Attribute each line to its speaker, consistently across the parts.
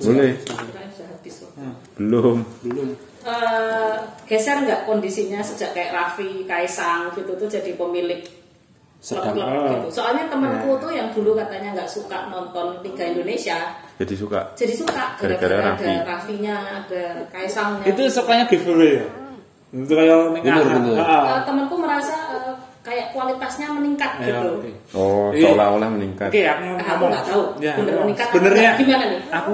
Speaker 1: Boleh.
Speaker 2: Sudah habis waktu.
Speaker 1: Belum.
Speaker 3: belum
Speaker 2: Eh, geser nggak kondisinya sejak kayak Raffi, Kaisang gitu tuh jadi pemilik
Speaker 3: Sedang-
Speaker 2: klub-klub
Speaker 3: ah.
Speaker 2: gitu. Soalnya temanku
Speaker 1: Ya.
Speaker 2: tuh yang dulu katanya nggak suka nonton Liga Indonesia,
Speaker 1: Jadi suka.
Speaker 2: jadi suka
Speaker 1: Gara-gara
Speaker 2: ada
Speaker 1: Raffi.
Speaker 2: Raffinya, ada Kaisangnya.
Speaker 3: itu sukanya giveaway ya itu kayak ning
Speaker 4: Bener,
Speaker 3: ah,
Speaker 4: bener.
Speaker 3: ah, ah.
Speaker 2: Eh, temanku merasa eh, kayak kualitasnya meningkat
Speaker 3: Ya,
Speaker 2: gitu.
Speaker 3: oke.
Speaker 1: Oh,
Speaker 3: Iya.
Speaker 1: seolah-olah meningkat.
Speaker 3: Oke, aku
Speaker 2: Nah, aku
Speaker 3: ngomong.
Speaker 2: nggak tahu.
Speaker 3: Ya,
Speaker 2: Bener
Speaker 3: ngomong.
Speaker 2: meningkat
Speaker 3: sebenarnya
Speaker 2: atau gimana nih?
Speaker 3: Aku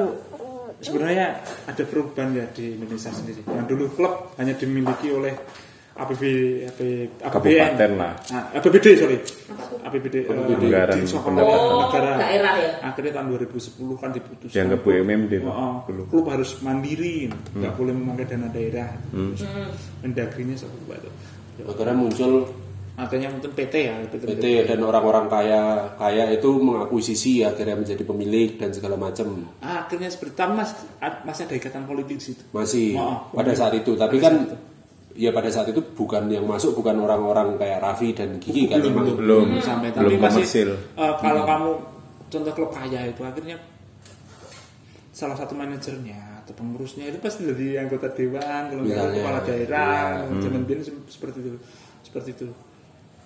Speaker 3: sebenarnya ada perubahan ya di Indonesia sendiri. Yang dulu klub hanya dimiliki oleh APB, AP, APBN.
Speaker 1: Kabupaten lah.
Speaker 3: Ah, APBD sorry. APBD, eh,
Speaker 1: Anggaran
Speaker 3: di
Speaker 1: Pendapatan
Speaker 3: Soekarno Hatta
Speaker 2: Oh,
Speaker 3: negara.
Speaker 2: daerah ya?
Speaker 3: Akhirnya tahun 2010 kan diputuskan.
Speaker 1: Dianggap BUMD
Speaker 3: Oh,
Speaker 1: Pak.
Speaker 3: oh,
Speaker 1: Belum.
Speaker 3: klub harus mandiri, nggak boleh memakai dana daerah. Terus
Speaker 2: Hmm.
Speaker 3: Mendagrinya satu Ya, batu.
Speaker 4: Akhirnya muncul
Speaker 3: Akhirnya mungkin PT ya, PT.
Speaker 4: PT dan orang-orang kaya kaya itu mengakuisisi akhirnya menjadi pemilik dan segala macam.
Speaker 3: Ah, akhirnya seperti tamas ah, masih ada ikatan politik di situ.
Speaker 4: Masih
Speaker 3: Oh,
Speaker 4: pada
Speaker 3: oke.
Speaker 4: saat itu, tapi kan ya pada saat itu bukan yang masuk bukan orang-orang kayak Raffi dan Gigi kan memang
Speaker 1: Belum.
Speaker 3: sampai tapi
Speaker 1: Belum
Speaker 3: masih
Speaker 1: komersil. Hmm.
Speaker 3: eh, kalau kamu contoh klub kaya itu akhirnya salah satu manajernya atau pengurusnya itu pasti jadi anggota
Speaker 1: Iya,
Speaker 3: dewan kalau nggak ada
Speaker 4: Misalnya,
Speaker 3: kepala daerah
Speaker 1: Hmm.
Speaker 3: zaman dulu se- seperti itu seperti itu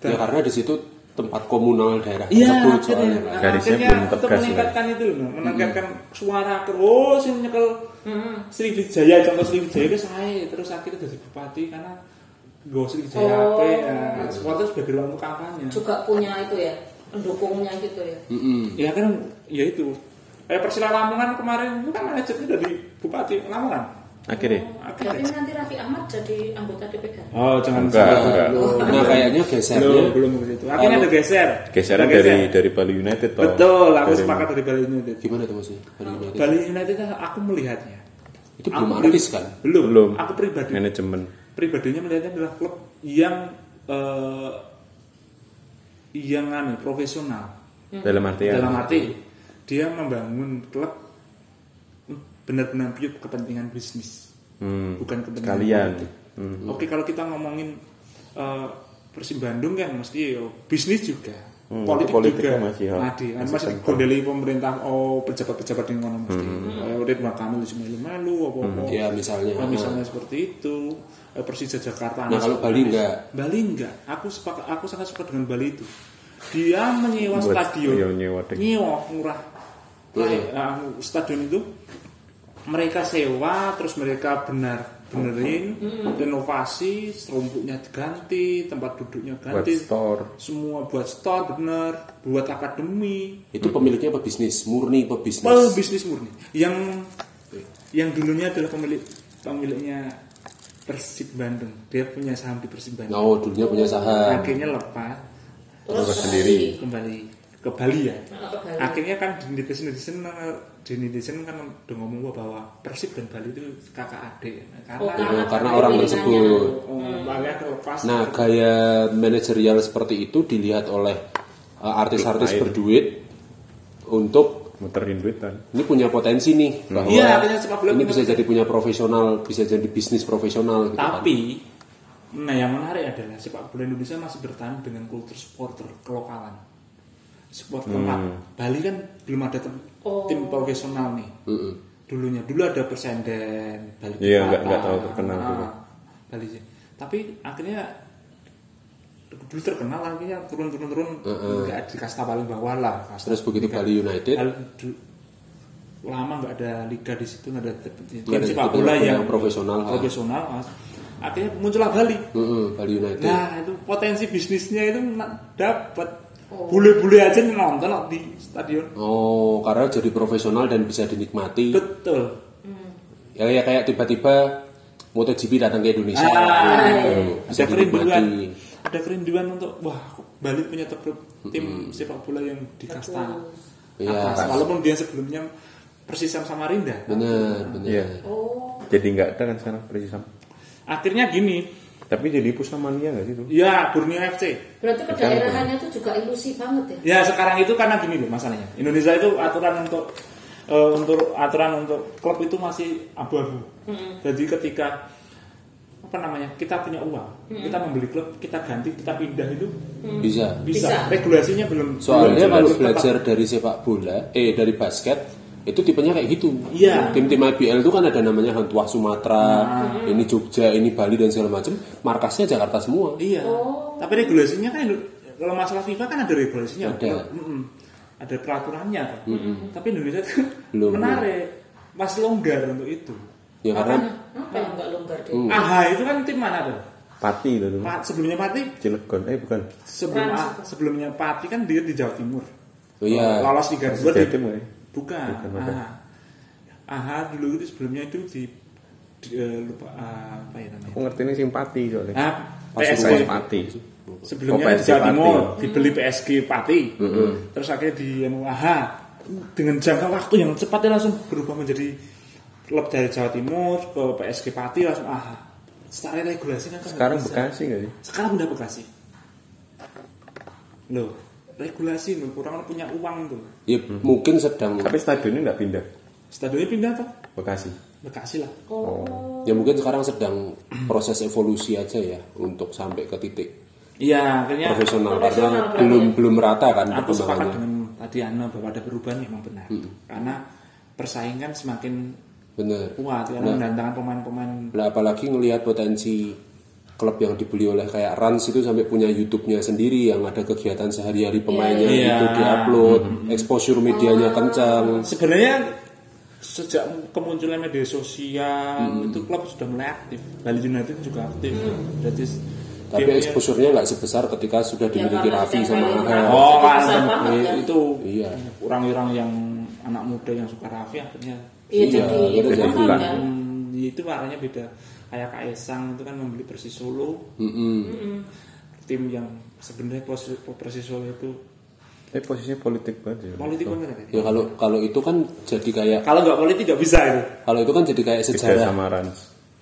Speaker 4: ya karena di situ tempat komunal daerah
Speaker 3: Iya,
Speaker 4: tersebut
Speaker 3: akhirnya,
Speaker 4: soalnya kan.
Speaker 1: Garisnya
Speaker 3: akhirnya
Speaker 1: belum
Speaker 3: untuk
Speaker 1: tegas,
Speaker 3: meningkatkan itu loh, meningkatkan suara terus yang nyekel Sriwijaya, contoh Sriwijaya itu saya terus akhirnya jadi bupati karena gue Sriwijaya
Speaker 2: Oh.
Speaker 3: apa ya, supporter sebagai ruang untuk kampanye.
Speaker 2: Juga punya itu ya, pendukungnya gitu ya.
Speaker 4: Mm-mm.
Speaker 3: Ya kan, ya itu. Eh Persela Lamongan kemarin itu kan manajernya dari Bupati Lamongan.
Speaker 1: Akhirnya.
Speaker 2: Tapi
Speaker 3: Akhirnya.
Speaker 2: nanti Raffi Ahmad jadi anggota DPR.
Speaker 3: Oh jangan
Speaker 1: Enggak,
Speaker 3: salah.
Speaker 1: enggak. Oh.
Speaker 4: Nah kayaknya gesernya
Speaker 3: Belum belum begitu. Akhirnya
Speaker 4: Kalau-
Speaker 3: ada geser.
Speaker 1: Geseran
Speaker 3: Ada
Speaker 1: dari dari Bali United toh.
Speaker 3: Betul, aku
Speaker 1: Dari-
Speaker 3: sepakat dari Bali United.
Speaker 4: gimana tuh maksudnya? Bali United?
Speaker 3: Bali United aku melihatnya.
Speaker 4: Itu belum
Speaker 3: Aku
Speaker 4: artis
Speaker 3: pri-
Speaker 4: kan?
Speaker 3: Belum.
Speaker 1: Belum.
Speaker 3: Aku pribadi
Speaker 1: manajemen.
Speaker 3: pribadinya melihatnya adalah klub yang eh, yang anu, profesional.
Speaker 1: Dalam artian
Speaker 3: Hmm. Dalam arti dia membangun klub hmm, benar-benar pure kepentingan bisnis.
Speaker 1: Hmm.
Speaker 3: Bukan kepentingan
Speaker 1: Sekalian.
Speaker 3: politik.
Speaker 1: Hmm.
Speaker 3: Oke, kalau kita ngomongin eh, Persib Bandung kan mesti yo, bisnis juga,
Speaker 1: Hmm,
Speaker 3: politik,
Speaker 1: politiknya
Speaker 3: juga.
Speaker 1: masih, ya.
Speaker 3: Nah, di- kan
Speaker 1: Masih
Speaker 3: masih digondeli pemerintah oh pejabat-pejabat yang ngono mesti.
Speaker 1: Hmm.
Speaker 3: Kayak Udah Ridwan Kamil cuma malu apa-apa.
Speaker 4: Ya, misalnya.
Speaker 3: Nah, misalnya seperti itu. Eh, Persija Jakarta.
Speaker 4: Nah,
Speaker 3: Anies
Speaker 4: kalau Bali
Speaker 3: Baswedan.
Speaker 4: enggak?
Speaker 3: Bali enggak. Aku sepakat aku sangat suka dengan Bali itu. Dia menyewa
Speaker 1: Buat-
Speaker 3: stadion.
Speaker 1: iya, nyewa deh.
Speaker 3: Nyewa murah.
Speaker 4: Iya.
Speaker 3: Nah, nah, stadion itu mereka sewa terus mereka benar benerin renovasi serumputnya diganti tempat duduknya
Speaker 1: Buat
Speaker 3: ganti
Speaker 1: store.
Speaker 3: semua buat store bener buat akademi
Speaker 4: itu pemiliknya pebisnis murni pebisnis
Speaker 3: oh bisnis murni yang yang dulunya adalah pemilik pemiliknya Persib Bandung dia punya saham di Persib Bandung
Speaker 4: oh dulunya punya saham
Speaker 3: akhirnya lepas
Speaker 1: Terus sendiri.
Speaker 3: kembali ke Bali ya
Speaker 2: Ke Bali.
Speaker 3: akhirnya kan di netizen netizen di netizen kan udah ngomong gua bahwa Persib dan Bali itu kakak adik
Speaker 2: Oh,
Speaker 3: karena
Speaker 4: Nah,
Speaker 2: Karena-
Speaker 4: karena orang
Speaker 2: karena
Speaker 4: tersebut
Speaker 3: oh, makanya terlepas
Speaker 4: nah gaya manajerial seperti itu dilihat oleh uh, artis-artis berduit untuk
Speaker 1: muterin duitan.
Speaker 4: ini punya potensi nih bahwa
Speaker 3: Iya, artinya sepak bola
Speaker 4: ini
Speaker 3: punya
Speaker 4: bisa jadi punya profesional bisa jadi bisnis profesional gitu kan.
Speaker 3: tapi nah yang menarik adalah sepak bola Indonesia masih bertahan dengan kultur supporter kelokalan support
Speaker 4: Hmm.
Speaker 3: tempat Bali kan belum ada tem-
Speaker 2: Oh.
Speaker 3: tim profesional nih
Speaker 4: Mm-mm.
Speaker 3: dulunya dulu ada persenden Bali
Speaker 1: Iya,
Speaker 3: Perkata,
Speaker 1: nggak- nggak terlalu terkenal
Speaker 3: ah,
Speaker 1: dulu.
Speaker 3: Bali tapi akhirnya dulu terkenal akhirnya turun turun turun nggak di kasta paling bawah lah kasta
Speaker 4: terus begitu
Speaker 3: tiga.
Speaker 4: Bali United
Speaker 3: Lalu du- lama nggak ada liga di situ nggak ada tim tim
Speaker 4: ada
Speaker 3: sepak
Speaker 4: tim
Speaker 3: bola yang
Speaker 4: yang profesional, ah.
Speaker 3: profesional ah. akhirnya muncullah Bali
Speaker 4: Mm-mm, Bali United
Speaker 3: nah itu potensi bisnisnya itu na- dapat bule-bule aja nih nonton loh di stadion
Speaker 4: oh karena jadi profesional dan bisa dinikmati
Speaker 3: betul
Speaker 4: ya, ya kayak tiba-tiba MotoGP datang ke Indonesia
Speaker 3: Ah,
Speaker 4: Gitu.
Speaker 3: ada
Speaker 4: bisa
Speaker 3: kerinduan
Speaker 4: dinikmati
Speaker 3: ada kerinduan untuk wah Bali punya tep- tim sepak bola yang di kasta
Speaker 4: Iya.
Speaker 3: atas walaupun dia sebelumnya persis sama Rinda
Speaker 4: bener bener
Speaker 1: Iya.
Speaker 2: Oh,
Speaker 1: Jadi nggak ada kan sekarang Persisam.
Speaker 3: akhirnya gini
Speaker 1: Tapi jadi pusamania nggak sih itu?
Speaker 3: ya Borneo FC
Speaker 2: berarti kedaerahannya tuh juga ilusi banget ya.
Speaker 3: ya sekarang itu karena gini loh masalahnya Indonesia itu aturan untuk eh, untuk aturan untuk klub itu masih abu-abu jadi ketika apa namanya kita punya uang kita membeli klub kita ganti kita pindah itu
Speaker 4: bisa
Speaker 2: Bisa.
Speaker 3: bisa, regulasinya belum belum
Speaker 4: soalnya
Speaker 3: Iya,
Speaker 4: kalau
Speaker 3: jelas.
Speaker 4: belajar dari sepak bola eh dari basket Itu tipenya kayak gitu.
Speaker 3: Iya.
Speaker 4: Tim-tim IBL itu kan ada namanya Hantuah Sumatera, ini Jogja, ini Bali dan segala macam. Markasnya Jakarta semua.
Speaker 3: Iya. Tapi regulasinya kan Indo- kalau masalah FIFA kan ada regulasinya.
Speaker 4: Ada.
Speaker 3: Mm-mm. Ada peraturannya kan. Tapi Indonesia tuh
Speaker 4: Belum.
Speaker 3: menarik, masih longgar untuk itu.
Speaker 4: Ya karena
Speaker 3: Makanya,
Speaker 2: apa yang nggak longgar deh
Speaker 4: Hmm.
Speaker 3: AHA itu kan tim mana tuh?
Speaker 1: Pati itu tuh.
Speaker 3: Pa- sebelumnya Pati,
Speaker 1: Cilegon. Eh bukan.
Speaker 3: sebelum
Speaker 2: Trans.
Speaker 3: ah, sebelumnya Pati kan dia di Jawa Timur.
Speaker 4: Oh, iya.
Speaker 3: Lolos Liga 2 di
Speaker 1: Jatim ya.
Speaker 3: Bukan.
Speaker 1: Bukan, bukan.
Speaker 3: AHA. AHA dulu itu sebelumnya itu di, di- eh, lupa ah, apa ya namanya?
Speaker 1: Aku ngerti ini simpati soalnya.
Speaker 3: Ah,
Speaker 1: Pasuruan
Speaker 3: PSI.
Speaker 1: Pati.
Speaker 3: sebelumnya
Speaker 1: Oh,
Speaker 3: di
Speaker 1: PSG
Speaker 3: Jawa
Speaker 1: Pati.
Speaker 3: Timur dibeli PSG Pati terus akhirnya di MUAH dengan jangka waktu yang cepat dia langsung berubah menjadi klub dari Jawa Timur ke PSG Pati langsung AH secara regulasi kan nggak
Speaker 1: Sekarang
Speaker 3: bisa.
Speaker 1: Bekasi nggak sih?
Speaker 3: sekarang udah Bekasi loh regulasi loh kurang punya uang tuh
Speaker 4: ya mungkin sedang
Speaker 1: Tapi stadionnya nggak pindah.
Speaker 3: stadionnya pindah tuh
Speaker 1: Bekasi.
Speaker 3: Bekasi lah
Speaker 2: Oh,
Speaker 4: ya mungkin sekarang sedang proses evolusi aja ya untuk sampai ke titik
Speaker 3: iya akhirnya
Speaker 4: profesional
Speaker 2: Profesional
Speaker 4: karena
Speaker 2: berarti.
Speaker 4: belum belum rata kan
Speaker 3: aku sepakat
Speaker 4: perkembangannya.
Speaker 3: dengan tadi Ana bahwa ada perubahan memang benar
Speaker 4: Hmm.
Speaker 3: karena persaingan semakin
Speaker 4: Bener.
Speaker 3: kuat karena mendatangkan pemain-pemain
Speaker 4: Nah, apalagi ngelihat potensi klub yang dibeli oleh kayak Rans itu sampai punya YouTube-nya sendiri yang ada kegiatan sehari-hari pemainnya
Speaker 3: Iya.
Speaker 4: itu diupload,
Speaker 1: Iya.
Speaker 4: exposure medianya kencang.
Speaker 3: sebenarnya sejak kemunculan media sosial
Speaker 4: Hmm.
Speaker 3: itu klub sudah mulai aktif Bali United juga aktif jadi
Speaker 1: Iya,
Speaker 4: Tapi
Speaker 3: dia punya-
Speaker 4: exposure-nya nggak sebesar ketika sudah dimiliki
Speaker 2: karena
Speaker 4: Raffi
Speaker 2: sejak
Speaker 4: sama
Speaker 2: kali
Speaker 4: Angel.
Speaker 2: Raffi.
Speaker 3: oh
Speaker 2: Itu besar
Speaker 3: kan,
Speaker 2: banget,
Speaker 3: eh,
Speaker 2: kan?
Speaker 3: itu
Speaker 4: Iya.
Speaker 3: orang-orang yang anak muda yang suka Raffi akhirnya
Speaker 2: iya
Speaker 4: Iya,
Speaker 2: jadi
Speaker 4: kita
Speaker 2: itu
Speaker 4: jadi
Speaker 2: mahal
Speaker 4: bukan.
Speaker 2: kan
Speaker 3: Hmm, itu warnanya beda kayak Kaisang itu kan membeli Persis Solo
Speaker 4: Mm-mm.
Speaker 3: tim yang sebenarnya pos- Persis Solo itu
Speaker 1: Eh posisinya politik banget ya.
Speaker 3: politik banget kan?
Speaker 4: Ya kalau kalau itu kan jadi kayak
Speaker 3: kalau nggak politik nggak bisa itu
Speaker 4: kalau itu kan jadi kayak
Speaker 1: Beda
Speaker 4: sejarah
Speaker 1: sama Rans.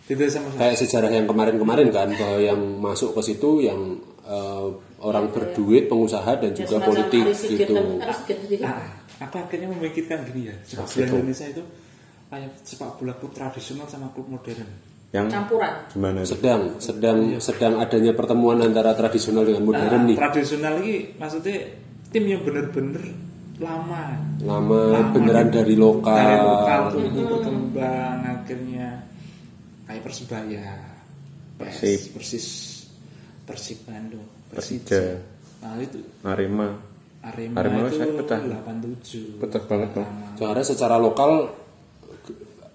Speaker 3: tidak sama
Speaker 4: kayak sejarah yang kemarin-kemarin kan bahwa yang masuk ke situ yang eh, orang berduit, pengusaha dan
Speaker 2: Ya,
Speaker 4: juga
Speaker 2: semacam
Speaker 4: politik
Speaker 2: Aris Sigit,
Speaker 4: gitu.
Speaker 2: tapi Aris Sigit itu
Speaker 3: Nah, aku akhirnya memikirkan gini ya, sepak bola Indonesia itu kayak sepak bola klub tradisional sama klub modern.
Speaker 1: Yang
Speaker 2: campuran
Speaker 1: gimana tuh?
Speaker 4: sedang sedang
Speaker 3: Iya.
Speaker 4: sedang adanya pertemuan antara tradisional dengan
Speaker 3: Nah,
Speaker 4: modern nih
Speaker 3: tradisional ini maksudnya tim yang bener-bener lama.
Speaker 4: lama beneran dari lokal,
Speaker 3: Dari lokal tuh itu berkembang akhirnya kayak Persebaya, PS,
Speaker 1: Persib.
Speaker 3: Persis, Persib Bandung,
Speaker 1: Persija.
Speaker 3: Nah, itu
Speaker 1: Arema.
Speaker 3: Arema,
Speaker 1: Arema
Speaker 3: itu
Speaker 1: saya pecah.
Speaker 3: 87.
Speaker 1: Pecah banget dong.
Speaker 4: karena secara lokal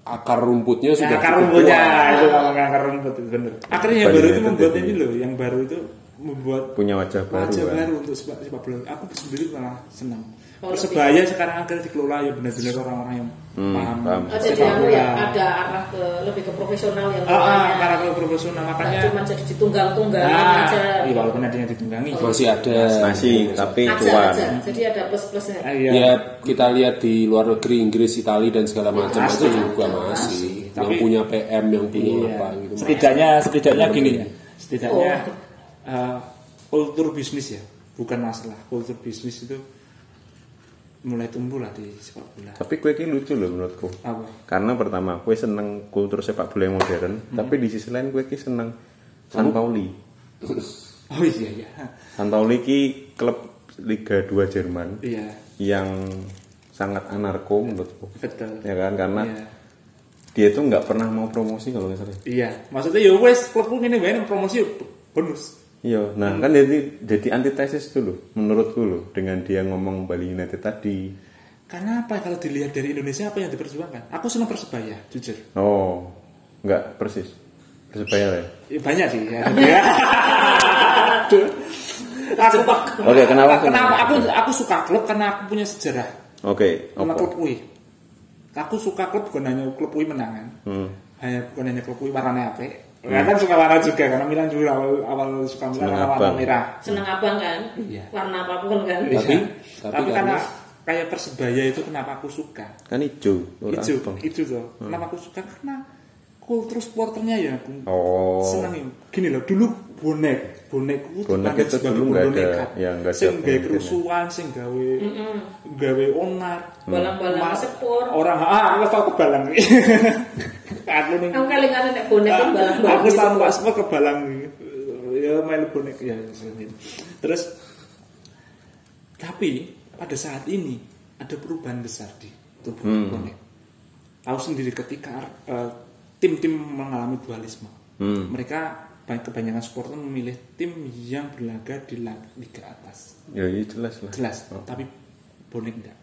Speaker 4: akar rumputnya sudah
Speaker 3: Ya, akar
Speaker 4: cukup
Speaker 3: rumputnya
Speaker 4: kuat.
Speaker 3: itu ngomong akar rumput itu bener akhirnya yang
Speaker 1: Bali
Speaker 3: baru itu
Speaker 1: United
Speaker 3: membuat
Speaker 1: ini.
Speaker 3: ini loh yang baru itu membuat
Speaker 1: Punya wajah baru.
Speaker 3: wajah
Speaker 1: kan.
Speaker 3: baru untuk sepak sepak bola aku sendiri malah senang
Speaker 2: Oh,
Speaker 3: persebaya sekarang akhirnya dikelola ya benar-benar orang-orang yang paham,
Speaker 1: Hmm, paham.
Speaker 2: oh, jadi
Speaker 3: sepak
Speaker 2: yang
Speaker 3: bola
Speaker 2: ya, ada arah ke lebih ke profesional yang
Speaker 3: ah, ah,
Speaker 2: lainnya.
Speaker 3: karena kalau profesional
Speaker 2: Nggak
Speaker 3: makanya
Speaker 2: cuma jadi ditunggang-tunggang
Speaker 3: nah
Speaker 2: aja
Speaker 3: iya, walaupun ada yang ditunggangi
Speaker 4: masih ada
Speaker 1: Masih tapi
Speaker 2: aja
Speaker 1: cuan.
Speaker 2: aja jadi ada plus plusnya
Speaker 3: Ah,
Speaker 4: ya,
Speaker 3: iya.
Speaker 4: kita lihat di luar negeri Inggris Italia dan segala macam itu
Speaker 3: Pasti.
Speaker 4: juga masih yang
Speaker 3: Tapi-
Speaker 4: punya PM yang punya
Speaker 3: Iya.
Speaker 4: apa gitu
Speaker 3: setidaknya setidaknya gini
Speaker 4: Iya.
Speaker 3: ya setidaknya
Speaker 2: Oh.
Speaker 3: eh, kultur bisnis ya bukan masalah kultur bisnis itu mulai tumbuh lah di sepak bola
Speaker 1: Tapi kue ini lucu loh menurutku.
Speaker 3: apa
Speaker 1: Karena pertama kue seneng kultur sepak bola yang modern,
Speaker 3: Hmm.
Speaker 1: tapi di sisi lain kue ini seneng San Pauli.
Speaker 3: oh iya iya
Speaker 1: San Pauli ini klub Liga 2 Jerman
Speaker 3: iya
Speaker 1: yang sangat anarko menurutku.
Speaker 3: betul
Speaker 1: Ya kan karena
Speaker 3: iya
Speaker 1: dia tuh nggak pernah mau promosi kalau nggak salah.
Speaker 3: iya maksudnya ya wes klub lu ini bayar promosi ya bonus
Speaker 1: Iya, nah kan jadi jadi antitesis dulu menurutku loh dengan dia ngomong Bali United tadi.
Speaker 3: karena apa kalau dilihat dari Indonesia apa yang diperjuangkan aku senang persebaya jujur
Speaker 1: Oh, nggak persis. Persebaya ya.
Speaker 3: Ya, banyak sih ya. Ya. Aduh. aku,
Speaker 1: Oke, kenapa?
Speaker 3: kenapa aku aku suka klub karena aku punya sejarah
Speaker 1: Oke,
Speaker 3: sama
Speaker 1: apa?
Speaker 3: klub UI. Aku suka klub bukan hanya klub UI menangan,
Speaker 1: Hmm.
Speaker 3: hanya bukan hanya kan? klub UI warnanya apa. Ya kan suka warna juga karena Milan dulu awal awal suka Milan
Speaker 1: Senang
Speaker 3: karena warna
Speaker 1: abang.
Speaker 3: merah.
Speaker 2: senang abang kan
Speaker 3: Iya.
Speaker 2: warna apapun kan
Speaker 3: Iya.
Speaker 4: Tapi-
Speaker 3: tapi,
Speaker 4: tapi
Speaker 3: karena
Speaker 4: karena-
Speaker 3: kayak persebaya itu kenapa aku suka?
Speaker 1: Kan hijau. ora
Speaker 3: Itu
Speaker 1: abang.
Speaker 3: itu tuh. Kenapa aku suka karena kultur supporternya ya aku
Speaker 1: Oh.
Speaker 3: seneng gini loh dulu bonek bonek itu
Speaker 1: Bonek
Speaker 3: dipandang
Speaker 1: itu
Speaker 3: sebagai
Speaker 1: dulu nggak ada-
Speaker 3: boneka.
Speaker 1: ya, nggak ada
Speaker 3: sing gawe
Speaker 1: pemimpinnya.
Speaker 3: kerusuhan sing gawe gawe onar
Speaker 2: Balang-balang
Speaker 3: Mas-
Speaker 2: sepur.
Speaker 3: orang ah aku tau kebalang aku nih
Speaker 2: kamu kali kali nek bonek kan balang balang
Speaker 3: Ah. aku tahu Pak semua kebalang ya main bonek ya seperti itu. terus tapi pada saat ini ada perubahan besar di itu bonek. Tahu sendiri ketika eh, tim-tim mengalami dualisme, mereka banyak- kebanyakan supporter memilih tim yang berlaga di la- liga atas,
Speaker 1: Ya iya jelas lah.
Speaker 3: jelas. Tapi bonek enggak.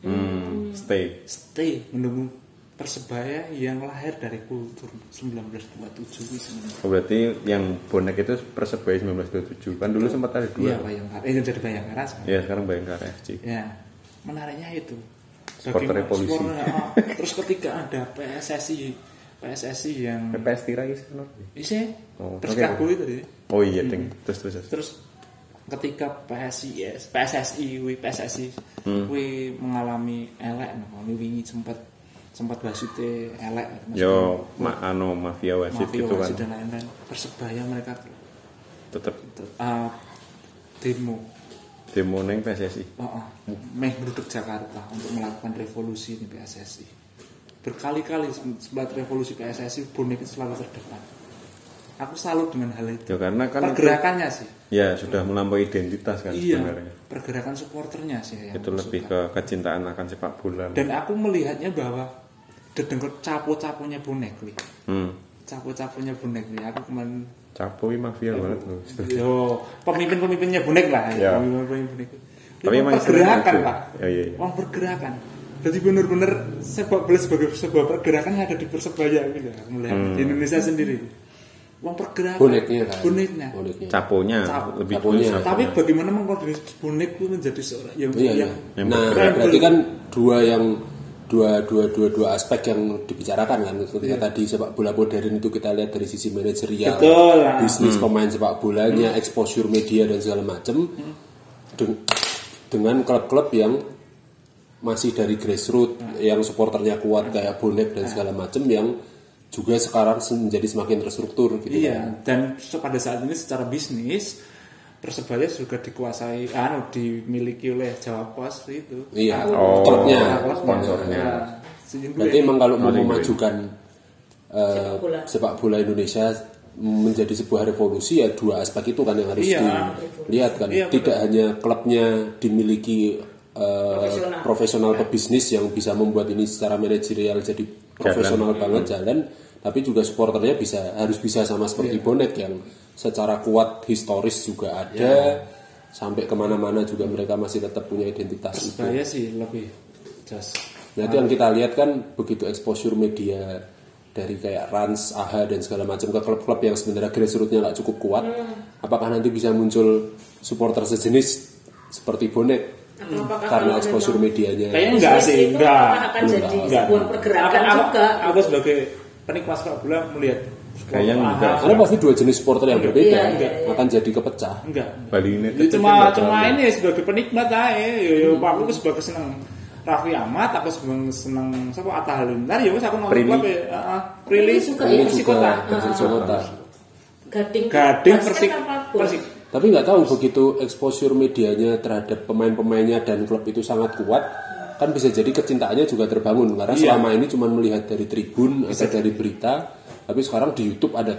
Speaker 1: Hmm, stay.
Speaker 3: Stay menunggu persebaya yang lahir dari kultur 1927 ini sebenarnya.
Speaker 1: Oh, berarti yang bonek itu Persebaya 1927 kan dulu sempat ada
Speaker 3: Iya
Speaker 1: dua.
Speaker 3: Bayangkara, eh jadi Bayangkara sekarang.
Speaker 1: Ya sekarang Bayangkara FC.
Speaker 3: Ya, menariknya itu.
Speaker 1: Supporter
Speaker 3: Bagaimana
Speaker 1: revolusi.
Speaker 3: supporternya, oh, terus ketika ada PSSI, PSSI yang
Speaker 1: PS Tira is kan?
Speaker 3: isi
Speaker 1: Oh,
Speaker 3: terus
Speaker 1: oke.
Speaker 3: kaku itu ya.
Speaker 1: Oh iya ding. Terus terus. terus.
Speaker 3: Terus ketika PSI, PSSI, wi PSSI,
Speaker 1: Hmm.
Speaker 3: wi mengalami elek, nah, wi wingi sempat sempat wasite elek. maksudnya
Speaker 1: Yo, ma anu mafia wasit
Speaker 3: mafia
Speaker 1: gitu kan.
Speaker 3: wasit ya. dan lain-lain. Persebaya mereka
Speaker 1: Tetep
Speaker 3: ah, demo
Speaker 1: demo neng PSSI.
Speaker 3: Oh, meh meruduk Jakarta untuk melakukan revolusi di PSSI. Berkali-kali sebelah revolusi PSSI bonek itu selalu terdepan. Aku salut dengan hal itu.
Speaker 1: Ya karena kan itu-
Speaker 3: pergerakannya sih.
Speaker 1: ya sudah melampaui identitas kan
Speaker 3: Iya,
Speaker 1: sebenarnya.
Speaker 3: pergerakan supporternya sih yang
Speaker 1: Itu
Speaker 3: aku
Speaker 1: lebih
Speaker 3: suka.
Speaker 1: ke kecintaan akan sepak bola.
Speaker 3: Dan aku melihatnya bahwa dedengker capo-caponya bonek nih.
Speaker 1: Hmm.
Speaker 3: Capo-caponya bonek nih. Aku kemarin
Speaker 1: Capoi mafia banget loh.
Speaker 3: yo pemimpin-pemimpinnya bonek lah.
Speaker 1: Ya.
Speaker 3: Pemimpin-pemimpin bonek.
Speaker 1: Tapi
Speaker 3: Ini
Speaker 1: emang
Speaker 3: pergerakan,
Speaker 1: sebenarnya-
Speaker 3: Pak.
Speaker 1: Ya, iya, iya.
Speaker 3: Uang pergerakan. Jadi benar-benar sepak bola sebagai sebuah pergerakan yang ada di persebaya gitu ya, aku melihat
Speaker 1: Hmm.
Speaker 3: di Indonesia sendiri. Uang pergerakan.
Speaker 4: Boneknya kan.
Speaker 3: Boneknya.
Speaker 4: Boneknya.
Speaker 1: Caponya
Speaker 3: Cap-
Speaker 1: lebih
Speaker 4: caponya.
Speaker 1: dulu
Speaker 3: Tapi bagaimana mengkoordinasi bonek itu menjadi seorang yang
Speaker 4: Iya, iya.
Speaker 3: yang
Speaker 4: Nah,
Speaker 3: Yang
Speaker 4: berarti
Speaker 3: beli.
Speaker 4: kan dua yang dua dua dua dua aspek yang dibicarakan kan ketika tadi sepak bola modern itu kita lihat dari sisi manajerial,
Speaker 3: Betul, lah.
Speaker 4: bisnis
Speaker 1: Hmm.
Speaker 4: pemain sepak bolanya, exposure media dan segala macam Den- dengan klub-klub yang masih dari grassroots yang supporternya kuat kayak bonek dan segala macam yang juga sekarang se- menjadi semakin terstruktur gitu
Speaker 3: Iya,
Speaker 4: kan.
Speaker 3: dan se- pada saat ini secara bisnis Persebaya juga dikuasai, anu dimiliki oleh Jawa Pos itu.
Speaker 4: Iya,
Speaker 1: Oh,
Speaker 4: klubnya,
Speaker 1: klub sponsornya.
Speaker 3: Ya, senyum
Speaker 4: Berarti
Speaker 3: gue.
Speaker 4: emang kalau mau
Speaker 1: Paling
Speaker 4: memajukan eh,
Speaker 2: Sepak bola.
Speaker 4: sepak bola Indonesia menjadi sebuah revolusi ya dua aspek itu kan yang harus
Speaker 3: Iya.
Speaker 4: dilihat kan.
Speaker 3: Iya,
Speaker 4: Tidak hanya klubnya dimiliki eh,
Speaker 2: Profesional.
Speaker 4: profesional pebisnis yang bisa membuat ini secara manajerial jadi profesional banget jalan, tapi juga supporternya bisa harus bisa sama seperti
Speaker 3: Iya.
Speaker 4: bonek yang secara kuat historis juga ada.
Speaker 3: Iya.
Speaker 4: Sampai kemana-mana juga mereka masih tetap punya identitas itu.
Speaker 3: Persebaya sih lebih just
Speaker 4: Berarti yang kita lihat kan begitu exposure media dari kayak Rans, AHA dan segala macam ke klub-klub yang sebenarnya grassrootsnya nggak cukup kuat,
Speaker 2: Hmm.
Speaker 4: apakah nanti bisa muncul supporter sejenis seperti bonek
Speaker 2: Apakah
Speaker 4: karena
Speaker 2: kalau
Speaker 4: exposure
Speaker 2: memang
Speaker 4: medianya?
Speaker 3: Kayaknya enggak
Speaker 2: bisnis
Speaker 3: sih,
Speaker 2: itu
Speaker 3: enggak.
Speaker 2: apakah akan jadi
Speaker 4: Enggak.
Speaker 2: sebuah pergerakan
Speaker 3: aku,
Speaker 2: juga
Speaker 3: Aku, aku sebagai penikmat sepak bola melihat
Speaker 1: Kayaknya
Speaker 3: Aha,
Speaker 1: enggak.
Speaker 4: Karena pasti dua jenis supporter yang berbeda
Speaker 2: Iya, iya, iya.
Speaker 4: akan jadi kepecah.
Speaker 3: enggak.
Speaker 1: Bali ini
Speaker 3: Ya, cuma cuma ini sebagai penikmat aja. Yo yo aku tuh sebagai seneng Raffi Ahmad, aku seneng seneng siapa Atta Halilintar, ya wes aku nonton
Speaker 1: Prilly.
Speaker 3: klub ya. Heeh. Prilly
Speaker 2: Prilly suka,
Speaker 4: Ini
Speaker 2: iya.
Speaker 4: juga
Speaker 3: Persikota.
Speaker 4: Persikota.
Speaker 2: Ah, gading
Speaker 3: Gading
Speaker 2: basket
Speaker 3: Persik
Speaker 2: apa bola?
Speaker 3: Persik.
Speaker 4: Tapi nggak tahu begitu exposure medianya terhadap pemain-pemainnya dan klub itu sangat kuat, kan bisa jadi kecintaannya juga terbangun karena
Speaker 3: Iya.
Speaker 4: selama ini cuma melihat dari tribun atau dari berita, tapi sekarang di YouTube ada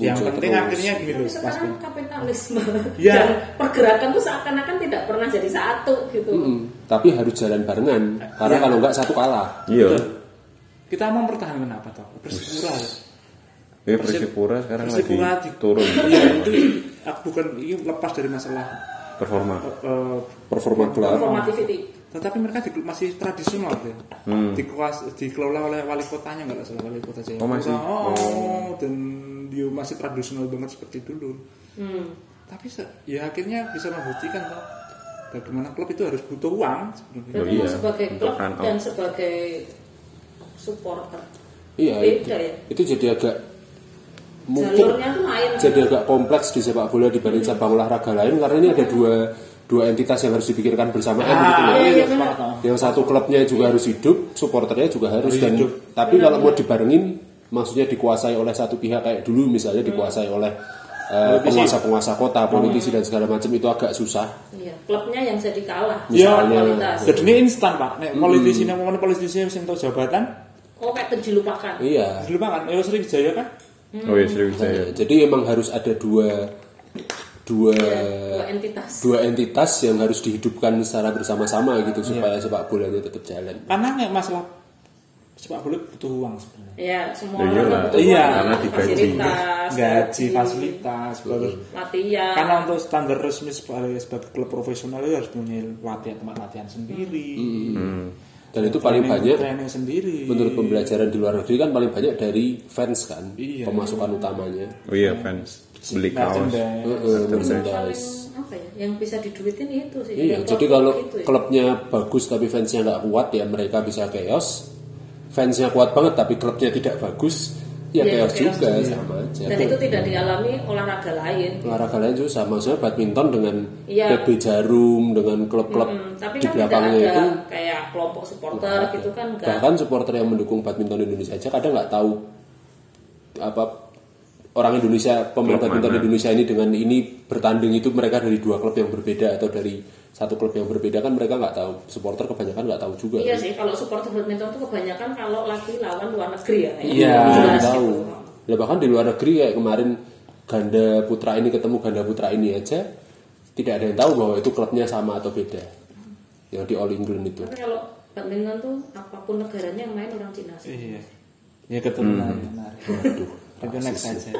Speaker 3: Yang
Speaker 4: muncul
Speaker 3: penting
Speaker 4: terus.
Speaker 3: akhirnya gini
Speaker 2: Tapi
Speaker 3: loh, Mas
Speaker 2: sekarang kapitalisme
Speaker 3: Iya.
Speaker 2: dan pergerakan tuh seakan-akan tidak pernah jadi satu gitu
Speaker 4: Mm, tapi harus jalan barengan karena kalau nggak satu kalah.
Speaker 1: Iya.
Speaker 3: Kita mau mempertahankan apa toh? Persipura. ya.
Speaker 1: Ini Persipura Iya, sekarang
Speaker 3: Persipura
Speaker 1: lagi
Speaker 3: di-
Speaker 1: turun
Speaker 3: Iya, itu aku bukan ini lepas dari masalah
Speaker 1: performa.
Speaker 3: eh,
Speaker 4: Performa
Speaker 1: Nah.
Speaker 4: gelar
Speaker 2: formativity
Speaker 3: tetapi mereka di- masih tradisional ya. Dikuas- dikelola oleh wali kotanya nggak salah wali kota Jayapura.
Speaker 1: Hmm. Oh, masih?
Speaker 3: Oh, dan dia masih tradisional banget seperti dulu.
Speaker 2: Hmm.
Speaker 3: Tapi se- ya akhirnya bisa membuktikan kok bagaimana klub itu harus butuh uang sebenarnya.
Speaker 1: Oh,
Speaker 2: Berarti
Speaker 1: iya.
Speaker 2: lu sebagai
Speaker 1: Untuk
Speaker 2: klub
Speaker 1: run out.
Speaker 2: dan sebagai supporter
Speaker 4: Iya, itu,
Speaker 2: Beda ya?
Speaker 4: itu jadi agak mungkin
Speaker 2: jalurnya Iya. tuh lain
Speaker 4: jadi agak kompleks di sepak bola dibanding cabang olahraga lain karena ini ada dua dua entitas yang harus dipikirkan bersamaan
Speaker 3: Nah,
Speaker 4: gitu loh.
Speaker 2: iya, iya,
Speaker 3: sepakat,
Speaker 2: benar.
Speaker 3: ah.
Speaker 4: yang satu klubnya juga harus hidup, supporternya juga harus dan
Speaker 3: hidup.
Speaker 4: tapi kalau mau dibarengin maksudnya dikuasai oleh satu pihak kayak dulu misalnya dikuasai oleh
Speaker 3: Politisi.
Speaker 4: eh, penguasa-penguasa kota, politisi dan segala macam itu agak susah.
Speaker 2: Iya, klubnya yang jadi kalah
Speaker 3: Iya.
Speaker 2: secara kualitas
Speaker 3: Jadi ini instan pak. Nek
Speaker 1: Hmm.
Speaker 3: politisi nek momen politisi yang tahu jabatan,
Speaker 2: oh kayak terjilupakan
Speaker 4: Iya.
Speaker 3: kan? dulu banget. Ya Sriwijaya kan.
Speaker 1: Oh iya Sriwijaya.
Speaker 4: Jadi emang harus ada dua dua
Speaker 2: dua entitas
Speaker 4: dua entitas yang harus dihidupkan secara bersama-sama gitu supaya sepak bolanya tetap jalan.
Speaker 3: Karena nggak masalah sepak bola butuh uang sebenarnya.
Speaker 2: ya semua
Speaker 1: Ya,
Speaker 2: orang
Speaker 1: iyalah.
Speaker 2: butuh
Speaker 3: Iya,
Speaker 2: uang,
Speaker 1: karena digaji.
Speaker 2: fasilitas Iya.
Speaker 3: Gaji, fasilitas,
Speaker 4: Iya.
Speaker 3: bagus.
Speaker 2: latihan
Speaker 3: Karena untuk standar resmi sebagai, sebagai klub profesional itu harus punya latihan tempat latihan sendiri.
Speaker 4: Hmm. Dan itu paling
Speaker 3: Training-
Speaker 4: banyak
Speaker 3: training sendiri.
Speaker 4: menurut pembelajaran di luar negeri kan paling banyak dari fans kan
Speaker 3: Iya.
Speaker 4: pemasukan utamanya.
Speaker 3: Hmm.
Speaker 1: Oh iya fans beli kaos.
Speaker 3: Merchandise.
Speaker 4: Heeh,
Speaker 2: Yang
Speaker 4: merchandise.
Speaker 2: paling apa ya yang bisa diduitin itu sih
Speaker 4: Iya,
Speaker 2: Yang
Speaker 4: jadi
Speaker 2: klub
Speaker 4: kalau
Speaker 2: gitu ya.
Speaker 4: klubnya bagus tapi fansnya nggak kuat ya mereka bisa chaos. Fansnya kuat banget tapi klubnya tidak bagus
Speaker 2: Iya,
Speaker 4: ya chaos
Speaker 2: chaos
Speaker 4: juga sama aja.
Speaker 2: dan itu tidak dialami olahraga lain
Speaker 4: Olahraga lain juga sama, maksudnya badminton dengan
Speaker 2: Iya.
Speaker 4: PB Jarum dengan klub-klub
Speaker 2: Hmm, tapi
Speaker 4: di
Speaker 2: kan tidak
Speaker 4: belakangnya
Speaker 2: ada
Speaker 4: itu
Speaker 2: kayak kelompok supporter gitu kan enggak
Speaker 4: bahkan supporter yang mendukung badminton Indonesia aja kadang nggak tahu apa orang Indonesia pemain
Speaker 1: Klub
Speaker 4: badminton
Speaker 1: mana.
Speaker 4: Indonesia ini dengan ini bertanding itu mereka dari dua klub yang berbeda atau dari satu klub yang berbeda kan mereka nggak tahu supporter kebanyakan nggak tahu juga
Speaker 2: iya sih kalau supporter badminton itu kebanyakan kalau lagi lawan luar negeri ya kayak
Speaker 4: Iya,
Speaker 2: gitu.
Speaker 4: belum
Speaker 2: Jelas
Speaker 4: tahu.
Speaker 2: gitu.
Speaker 4: Lah bahkan di luar negeri kayak kemarin ganda putra ini ketemu ganda putra ini aja tidak ada yang tahu bahwa itu klubnya sama atau beda. Yang di All England itu.
Speaker 2: tapi kalau badminton tuh apapun negaranya yang main orang Cina sih
Speaker 3: Iya. Ya keturunan.
Speaker 4: Hmm.
Speaker 3: menarik.
Speaker 4: Waduh.
Speaker 3: Itu next aja.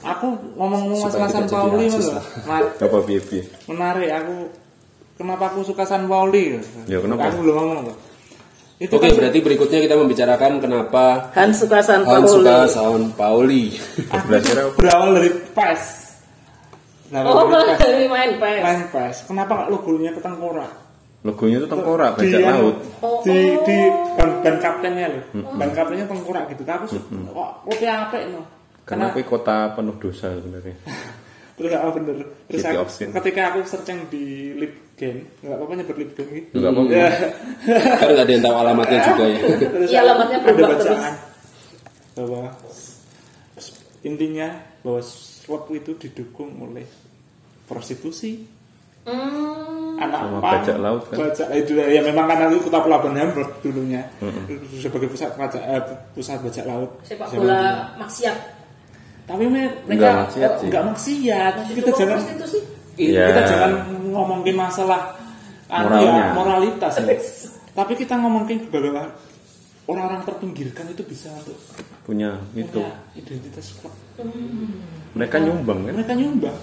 Speaker 3: Aku ngomong-ngomong
Speaker 4: Supaya
Speaker 3: masalah San
Speaker 4: tidak jadi
Speaker 3: Pauli
Speaker 4: rasis
Speaker 3: loh.
Speaker 4: lah.
Speaker 3: Mat-
Speaker 1: Apa piye piye?
Speaker 3: Menarik aku. Kenapa aku suka San Pauli?
Speaker 1: Ya, kenapa?
Speaker 3: Aku belum ngomong loh. Itu
Speaker 4: Oke,
Speaker 3: kan
Speaker 4: berarti berikutnya kita membicarakan kenapa
Speaker 2: Han suka San
Speaker 4: Hans suka Saun Pauli.
Speaker 1: Belajar apa?
Speaker 3: kan berawal dari PES. Berawal
Speaker 2: oh
Speaker 3: dari PES.
Speaker 2: dari main pes
Speaker 3: Main PES. Kenapa logonya ketengkorak?
Speaker 1: Logonya itu tengkorak,
Speaker 3: di
Speaker 1: bajak
Speaker 3: anu,
Speaker 1: laut. Hmm.
Speaker 2: Oh,
Speaker 3: di
Speaker 2: oh.
Speaker 3: di ban, ban kaptennya loh ban kaptennya tengkorak gitu aku suka kok putih apik no
Speaker 1: Karena aku kota penuh dosa sebenarnya.
Speaker 3: terus gak bener terus
Speaker 1: City
Speaker 3: aku,
Speaker 1: of Sin.
Speaker 3: ketika aku searching di lip game nggak apa-apa nyebut lip game gitu
Speaker 1: Enggak apa-apa.
Speaker 3: Ya.
Speaker 1: Hmm.
Speaker 4: kan nggak ada yang tahu alamatnya juga ya.
Speaker 3: Terus
Speaker 2: Iya, alamatnya
Speaker 3: ada
Speaker 2: berubah
Speaker 3: bacaan bahwa intinya bahwa swap itu didukung oleh prostitusi
Speaker 2: hmm,
Speaker 3: anak
Speaker 1: Sama
Speaker 3: pang,
Speaker 1: bajak laut, kan?
Speaker 3: bajak itu ya memang karena itu kota pelabuhan Hamburg dulunya sebagai pusat bajak eh, pusat bajak laut
Speaker 2: sepak
Speaker 3: Zaman dulu.
Speaker 2: bola maksiat
Speaker 3: tapi me-
Speaker 1: Nggak
Speaker 3: mereka
Speaker 1: maksiat sih.
Speaker 3: nggak maksiat kita
Speaker 2: Itu kok
Speaker 3: jangan
Speaker 2: prostitusi?
Speaker 1: Iya.
Speaker 3: kita jangan ngomongin masalah anu
Speaker 1: Moralnya.
Speaker 3: ya, moralitas ya. tapi kita ngomongin bagaimana orang-orang terpinggirkan itu bisa untuk
Speaker 1: Punya itu.
Speaker 3: punya identitas klub.
Speaker 1: Mereka nyumbang kan?
Speaker 3: mereka nyumbang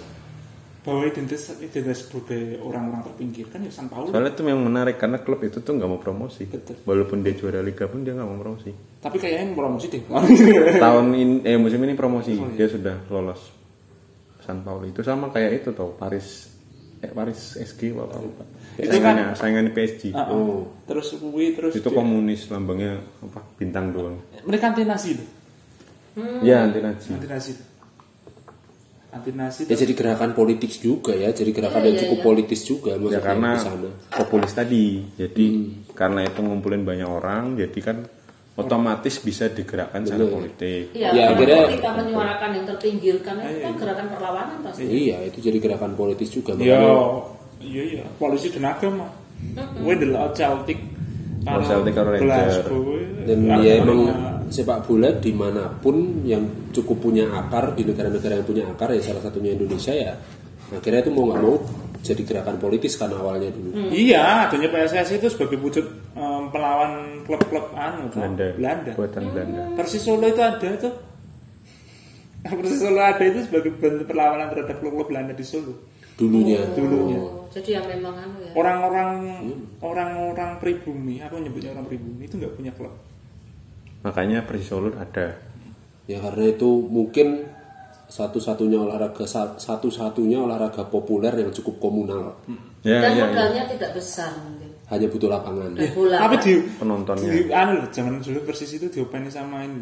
Speaker 3: bahwa identitas identitas sebagai orang-orang terpinggirkan ya San Paulo
Speaker 1: Soalnya itu yang menarik karena klub itu tuh nggak mau promosi.
Speaker 3: Betul.
Speaker 1: Walaupun dia juara liga pun dia nggak mau promosi.
Speaker 3: tapi kayaknya promosi deh
Speaker 1: Tahun ini eh musim ini promosi, dia sudah lolos. San Paulo itu sama kayak itu tau Paris eh Paris SG apa lupa.
Speaker 3: Itu Ah.
Speaker 1: Saingannya, saingannya PSG.
Speaker 3: Heeh. terus kui terus
Speaker 1: Oh. Itu
Speaker 3: di-
Speaker 1: komunis lambangnya apa bintang doang.
Speaker 3: mereka anti nasi loh
Speaker 1: Ya anti nazi.
Speaker 3: anti nasi anti nasi
Speaker 1: Iya,
Speaker 4: Ya jadi gerakan politik juga ya, jadi gerakan yang cukup politis juga
Speaker 1: Ya
Speaker 4: maksudnya
Speaker 1: karena
Speaker 4: di sana.
Speaker 1: populis tadi. Jadi karena itu ngumpulin banyak orang, jadi kan otomatis bisa digerakkan secara politik.
Speaker 2: Iya,
Speaker 4: Ya,
Speaker 2: karena
Speaker 4: akhirnya-
Speaker 2: ketika menyuarakan yang terpinggirkan itu kan gerakan perlawanan pasti.
Speaker 4: Iya, itu jadi gerakan politis juga.
Speaker 3: Ya,
Speaker 4: makanya
Speaker 3: iya iya. Polisi dan agama. Gue adalah Celtic.
Speaker 1: Oh, Celtic karo Ranger.
Speaker 4: dan ya emang sepak bola dimanapun yang cukup punya akar di negara-negara yang punya akar ya salah satunya Indonesia ya akhirnya itu mau nggak mau jadi gerakan politis kan awalnya dulu
Speaker 3: Iya, adanya PSSI itu sebagai wujud em, pelawan klub-klub anu kan,
Speaker 1: Belanda.
Speaker 3: Belanda.
Speaker 1: Buatan Belanda.
Speaker 3: Persis Solo itu ada tuh. Persis Solo ada itu sebagai bentuk perlawanan terhadap klub-klub Belanda di Solo.
Speaker 4: dulunya
Speaker 2: Oh, jadi yang memang anu
Speaker 3: Iya,
Speaker 2: ya.
Speaker 3: Orang-orang orang-orang pribumi, aku nyebutnya orang pribumi itu nggak punya klub.
Speaker 1: Makanya Persis Solo ada.
Speaker 4: ya karena itu mungkin satu-satunya olahraga sa- satu-satunya olahraga populer yang cukup komunal
Speaker 1: Ya,
Speaker 3: iya,
Speaker 2: Dan
Speaker 1: ya, ya.
Speaker 2: modalnya tidak besar mungkin.
Speaker 4: hanya butuh lapangan
Speaker 2: Dan bola.
Speaker 3: Tapi di
Speaker 1: Penontonnya.
Speaker 3: di anu loh, zaman dulu persis itu diopeni sama ini.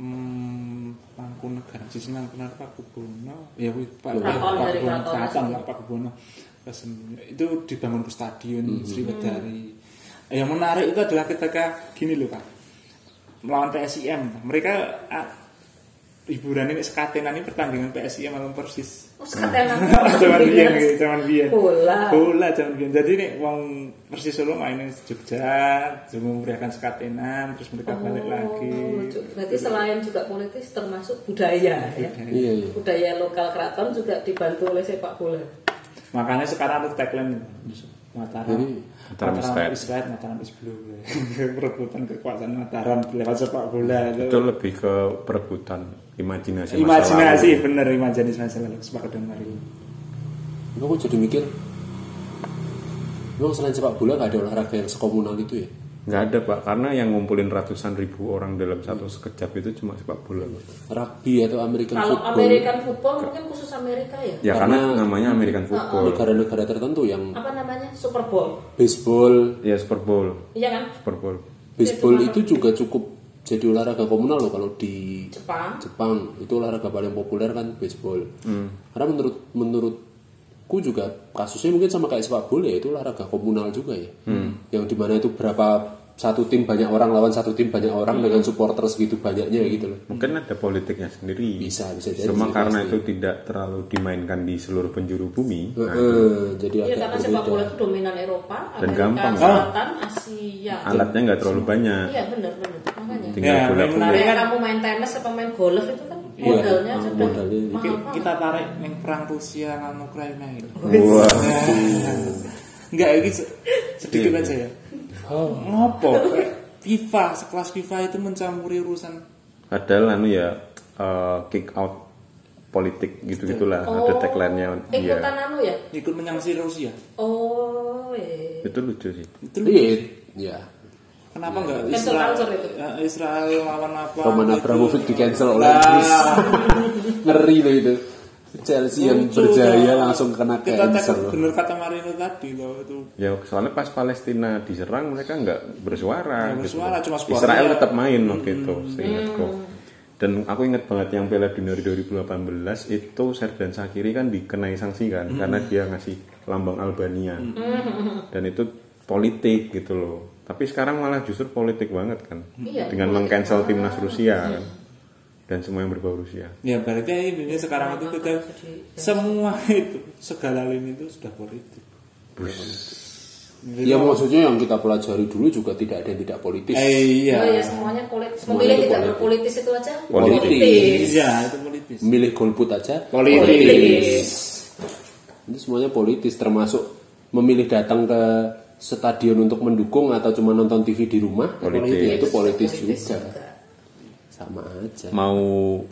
Speaker 3: Hmm, Mangkunegaran, sisi Mangkunegaran Pak Kubono. Ya kuwi Pak
Speaker 2: Keraton dari
Speaker 3: Kubono,
Speaker 2: keraton.
Speaker 3: Keraton Pak Pak Kubono. Kesem- Itu dibangun ke stadion Sriwedari. Yang menarik itu adalah ketika gini loh Kak. Melawan PSIM, mereka ah, hiburannya kayak sekatenan ini pertandingan PSI sama Lampung persis
Speaker 2: Oh, sekarang Iya.
Speaker 3: cuman biyen gitu, cuman biyen
Speaker 2: Bola.
Speaker 3: bola cuman biyen jadi nih uang persis solo mainin Jogja cuma memberikan sekatenan terus mereka
Speaker 2: Oh,
Speaker 3: balik lagi
Speaker 2: berarti selain juga politis termasuk budaya ya.
Speaker 4: Iya, iya.
Speaker 2: Budaya lokal keraton juga dibantu oleh sepak bola.
Speaker 3: makanya sekarang ada tagline Mataram
Speaker 1: Mataram is red.
Speaker 3: is red, Mataram is blue perebutan kekuasaan Mataram lewat sepak bola itu.
Speaker 1: itu lebih ke perebutan imajinasi masa lalu.
Speaker 3: imajinasi bener imajinasi masa lalu sepakat dengan hari ini
Speaker 4: Emang aku jadi mikir Emang selain sepak bola gak ada olahraga yang sekomunal itu ya?
Speaker 1: nggak ada pak karena yang ngumpulin ratusan ribu orang dalam satu sekejap itu cuma sepak bola Pak.
Speaker 4: Rugby atau American
Speaker 2: Kalau
Speaker 4: football
Speaker 2: American football mungkin khusus Amerika ya.
Speaker 1: ya karena, namanya American football
Speaker 4: Negara-negara tertentu yang
Speaker 2: Apa namanya? Super Bowl.
Speaker 4: baseball
Speaker 1: ya Super Bowl
Speaker 2: Iya kan?
Speaker 1: Super Bowl
Speaker 4: Baseball itu juga cukup jadi olahraga komunal loh kalau di
Speaker 2: Jepang.
Speaker 4: Jepang itu olahraga paling populer kan baseball. Karena menurut menurutku juga kasusnya mungkin sama kayak sepak bola ya, itu olahraga komunal juga ya. Yang dimana itu berapa satu tim banyak orang lawan satu tim banyak orang dengan supporter segitu banyaknya gitu loh.
Speaker 1: mungkin ada politiknya sendiri
Speaker 4: Bisa bisa jadi.
Speaker 1: cuma
Speaker 4: sih,
Speaker 1: karena
Speaker 4: pasti.
Speaker 1: itu tidak terlalu dimainkan di seluruh penjuru bumi nah,
Speaker 4: Heeh, jadi
Speaker 2: Iya
Speaker 4: agak
Speaker 2: karena sepak bola itu dominan Eropa,
Speaker 1: Dan
Speaker 2: Amerika
Speaker 1: gampang,
Speaker 4: ya.
Speaker 1: kan?
Speaker 2: Selatan, Asia.
Speaker 1: alatnya nggak terlalu banyak
Speaker 2: Iya benar benar. Makanya.
Speaker 1: tinggal bola
Speaker 3: Ya, yang
Speaker 1: bola
Speaker 3: menarik
Speaker 2: Nah, Kayak
Speaker 3: kan
Speaker 2: kamu main tenis atau main golf itu kan
Speaker 4: Iya,
Speaker 2: modalnya
Speaker 4: ah,
Speaker 2: sudah
Speaker 4: modalnya.
Speaker 2: mahal
Speaker 3: Ki-
Speaker 2: banget.
Speaker 3: kita tarik yang perang Rusia lawan Ukraina gitu.
Speaker 1: wah
Speaker 3: Enggak ini se- sedikit aja ya. Ngopo? kayak FIFA sekelas FIFA itu mencampuri urusan
Speaker 1: padahal anu ya eh, kick out politik gitu gitulah ada tagline-nya iya. dia
Speaker 2: Oh, Ikutan anu ya?
Speaker 3: ikut menyangsi Rusia.
Speaker 2: Oh, eh.
Speaker 1: itu lucu sih
Speaker 3: Itu
Speaker 4: Iya, iya.
Speaker 3: kenapa enggak
Speaker 2: Cancel
Speaker 3: Israel
Speaker 2: culture itu.
Speaker 3: eh, Israel lawan apa?
Speaker 4: Roman
Speaker 3: gitu.
Speaker 4: Abramovich di cancel oleh Inggris. Ngeri loh itu. Chelsea yang
Speaker 3: Lucu,
Speaker 4: berjaya
Speaker 3: toh.
Speaker 4: langsung kena
Speaker 3: Kita
Speaker 4: cancel.
Speaker 3: tak-
Speaker 4: loh.
Speaker 3: bener kata Marino tadi loh itu.
Speaker 1: ya soalnya pas Palestina diserang mereka nggak bersuara,
Speaker 3: Nggak
Speaker 1: gitu.
Speaker 3: bersuara, cuma sportnya.
Speaker 1: Israel tetap main waktu itu seingatku dan aku ingat banget yang Piala Dunia 2018 itu Serdan Sakiri kan dikenai sanksi kan karena dia ngasih lambang Albania dan itu politik gitu loh tapi sekarang malah justru politik banget kan
Speaker 2: Iya,
Speaker 1: dengan mengcancel timnas Rusia kan dan semua yang berbau Rusia
Speaker 3: Ya berarti ini sekarang itu kita semua itu segala lini itu sudah politik.
Speaker 4: Ya maksudnya yang kita pelajari dulu juga tidak ada yang tidak
Speaker 3: Eh,
Speaker 4: politis.
Speaker 2: Oh,
Speaker 3: iya.
Speaker 2: ya semuanya politis.
Speaker 4: Semuanya
Speaker 2: Memilih
Speaker 4: itu
Speaker 2: tidak
Speaker 4: politis.
Speaker 2: berpolitis itu aja
Speaker 1: Politis.
Speaker 3: Iya, itu politis.
Speaker 4: Milih golput aja.
Speaker 3: Politis.
Speaker 4: Itu semuanya politis termasuk memilih datang ke stadion untuk mendukung atau cuma nonton TV di rumah.
Speaker 1: Politis.
Speaker 4: Ya, itu politis,
Speaker 2: Politis
Speaker 4: juga.
Speaker 2: juga.
Speaker 4: Sama aja.
Speaker 1: mau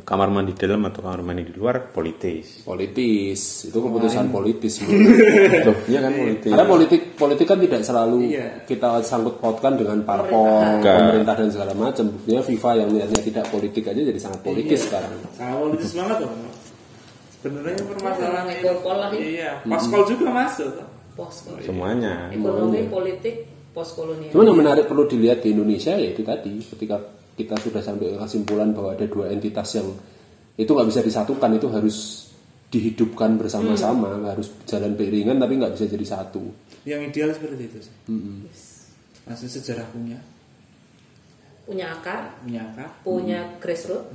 Speaker 1: kamar mandi dalam atau kamar mandi di luar politis
Speaker 4: Politis itu keputusan politis.
Speaker 1: Loh, iya kan politis
Speaker 4: Karena politik politik kan tidak selalu
Speaker 3: Iya.
Speaker 4: kita sangkut pautkan dengan parpol,
Speaker 1: Enggak.
Speaker 4: pemerintah dan segala macam. Buktinya FIFA yang niatnya tidak politik aja jadi sangat politis sekarang.
Speaker 3: Kalau politis banget loh. Sebenarnya permasalahan
Speaker 2: Ekonomi, golpol lah.
Speaker 3: Iya, paskol juga masuk.
Speaker 2: Posko.
Speaker 1: Iya. semuanya
Speaker 2: Ekonomi, politik, postkolonial.
Speaker 4: Cuman yang menarik perlu dilihat di Indonesia ya itu tadi ketika kita sudah sampai ke kesimpulan bahwa ada dua entitas yang itu nggak bisa disatukan itu harus dihidupkan bersama-sama harus jalan beriringan tapi nggak bisa jadi satu
Speaker 3: Yang ideal seperti itu. sih. Langsung sejarah punya,
Speaker 2: Punya akar,
Speaker 3: punya akar. Hmm.
Speaker 2: punya grassroots,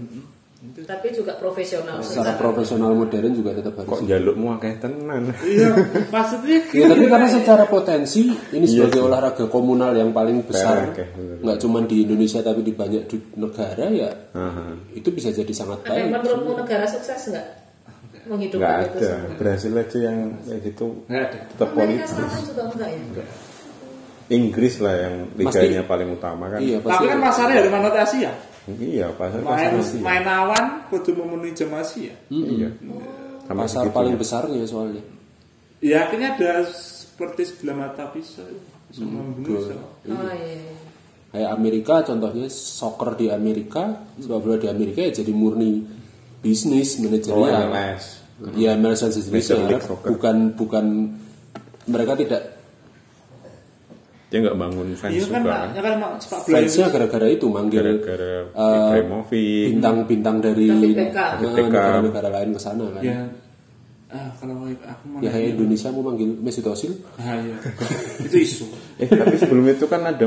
Speaker 2: tapi juga profesional.
Speaker 4: secara profesional modern juga tetap harus
Speaker 1: kok jalukmu akeh tenan
Speaker 3: Iya, maksudnya
Speaker 4: Ya, tapi karena secara potensi ini sebagai olahraga komunal yang paling
Speaker 1: Iya
Speaker 4: besar,
Speaker 1: Oke, betul.
Speaker 4: nggak cuma di Indonesia tapi di banyak du- negara ya
Speaker 1: Aha.
Speaker 4: itu bisa jadi sangat
Speaker 2: Apa yang
Speaker 4: baik.
Speaker 2: menurutmu negara sukses enggak?
Speaker 1: nggak
Speaker 2: Menghidupkan itu
Speaker 1: ada
Speaker 2: semua.
Speaker 1: Brasil aja yang kayak gitu
Speaker 3: Nggak ada.
Speaker 1: tetap
Speaker 2: Amerika
Speaker 1: politis
Speaker 2: Selatan juga enggak ya?
Speaker 1: Inggris lah yang
Speaker 4: Pasti.
Speaker 1: liganya paling utama kan
Speaker 4: Iya
Speaker 3: Tapi
Speaker 4: pasti.
Speaker 3: kan pasarnya dari mana Asia?
Speaker 1: iya pasar pasar
Speaker 3: Main,
Speaker 1: Asia.
Speaker 3: main awan kudu memenuhi jam Asia.
Speaker 1: iya
Speaker 3: Hmm.
Speaker 1: sama
Speaker 4: pasar
Speaker 1: segitu.
Speaker 4: paling besarnya soalnya.
Speaker 3: Ya akhirnya ada seperti sebelah mata pisau bisa membunuh bisa.
Speaker 2: Oh iya.
Speaker 4: Kayak Amerika contohnya soccer di Amerika, sepak bola di Amerika ya jadi murni bisnis
Speaker 1: oh
Speaker 3: Iya.
Speaker 4: manajerial.
Speaker 1: MLS
Speaker 4: Ya MLS dan sejenisnya
Speaker 1: Major League Soccer.
Speaker 4: bukan bukan mereka tidak
Speaker 1: dia nggak bangun fans
Speaker 3: Iya kan,
Speaker 1: juga
Speaker 3: Pak. ya kan emang sepak bola
Speaker 4: fansnya gara-gara itu manggil
Speaker 1: gara-gara
Speaker 4: eh,
Speaker 1: Ibrahimovic
Speaker 4: bintang-bintang dari
Speaker 2: David Beckham.
Speaker 4: eh,
Speaker 1: Beckham.
Speaker 4: negara-negara lain ke sana kan.
Speaker 3: Ya, ah, kalau aku mau
Speaker 4: Ya kayak Indonesia mau manggil Mesut Ozil.
Speaker 3: Ah, iya. itu isu.
Speaker 1: eh tapi sebelum itu kan ada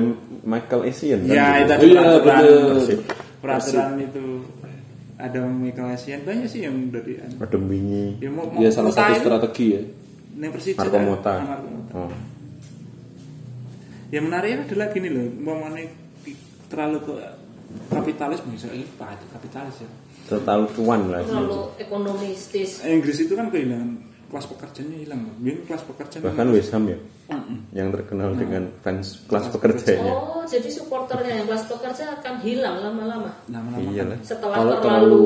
Speaker 1: Michael Essien kan
Speaker 3: Ya,
Speaker 1: dulu.
Speaker 3: itu
Speaker 4: Iya,
Speaker 3: peraturan,
Speaker 4: bener.
Speaker 3: peraturan itu ada Michaelasian banyak sih yang dari
Speaker 1: Ada Wingi.
Speaker 3: ya mau, mau
Speaker 4: Ya salah
Speaker 3: Muta
Speaker 4: satu
Speaker 3: itu,
Speaker 4: strategi ya.
Speaker 3: yang Persija
Speaker 1: Marco
Speaker 3: kan?
Speaker 1: Mota.
Speaker 3: Ah, Marco Mota.
Speaker 1: Oh.
Speaker 3: yang menariknya adalah gini loh umpamanya di- terlalu ke kapitalis misalnya ini Pak, itu kapitalis ya
Speaker 1: Terlalu cuan lah.
Speaker 2: terlalu ekonomistis
Speaker 3: Inggris itu kan kehilangan kelas pekerjanya hilang loh Biar kelas pekerja
Speaker 1: Bahkan West Ham ya,
Speaker 3: Mm-mm.
Speaker 1: yang terkenal dengan fans kelas pekerjanya.
Speaker 2: oh jadi supporternya yang kelas pekerja akan hilang lama-lama
Speaker 3: lama-lama
Speaker 1: Iya lah.
Speaker 2: setelah
Speaker 4: Kalau
Speaker 2: terlalu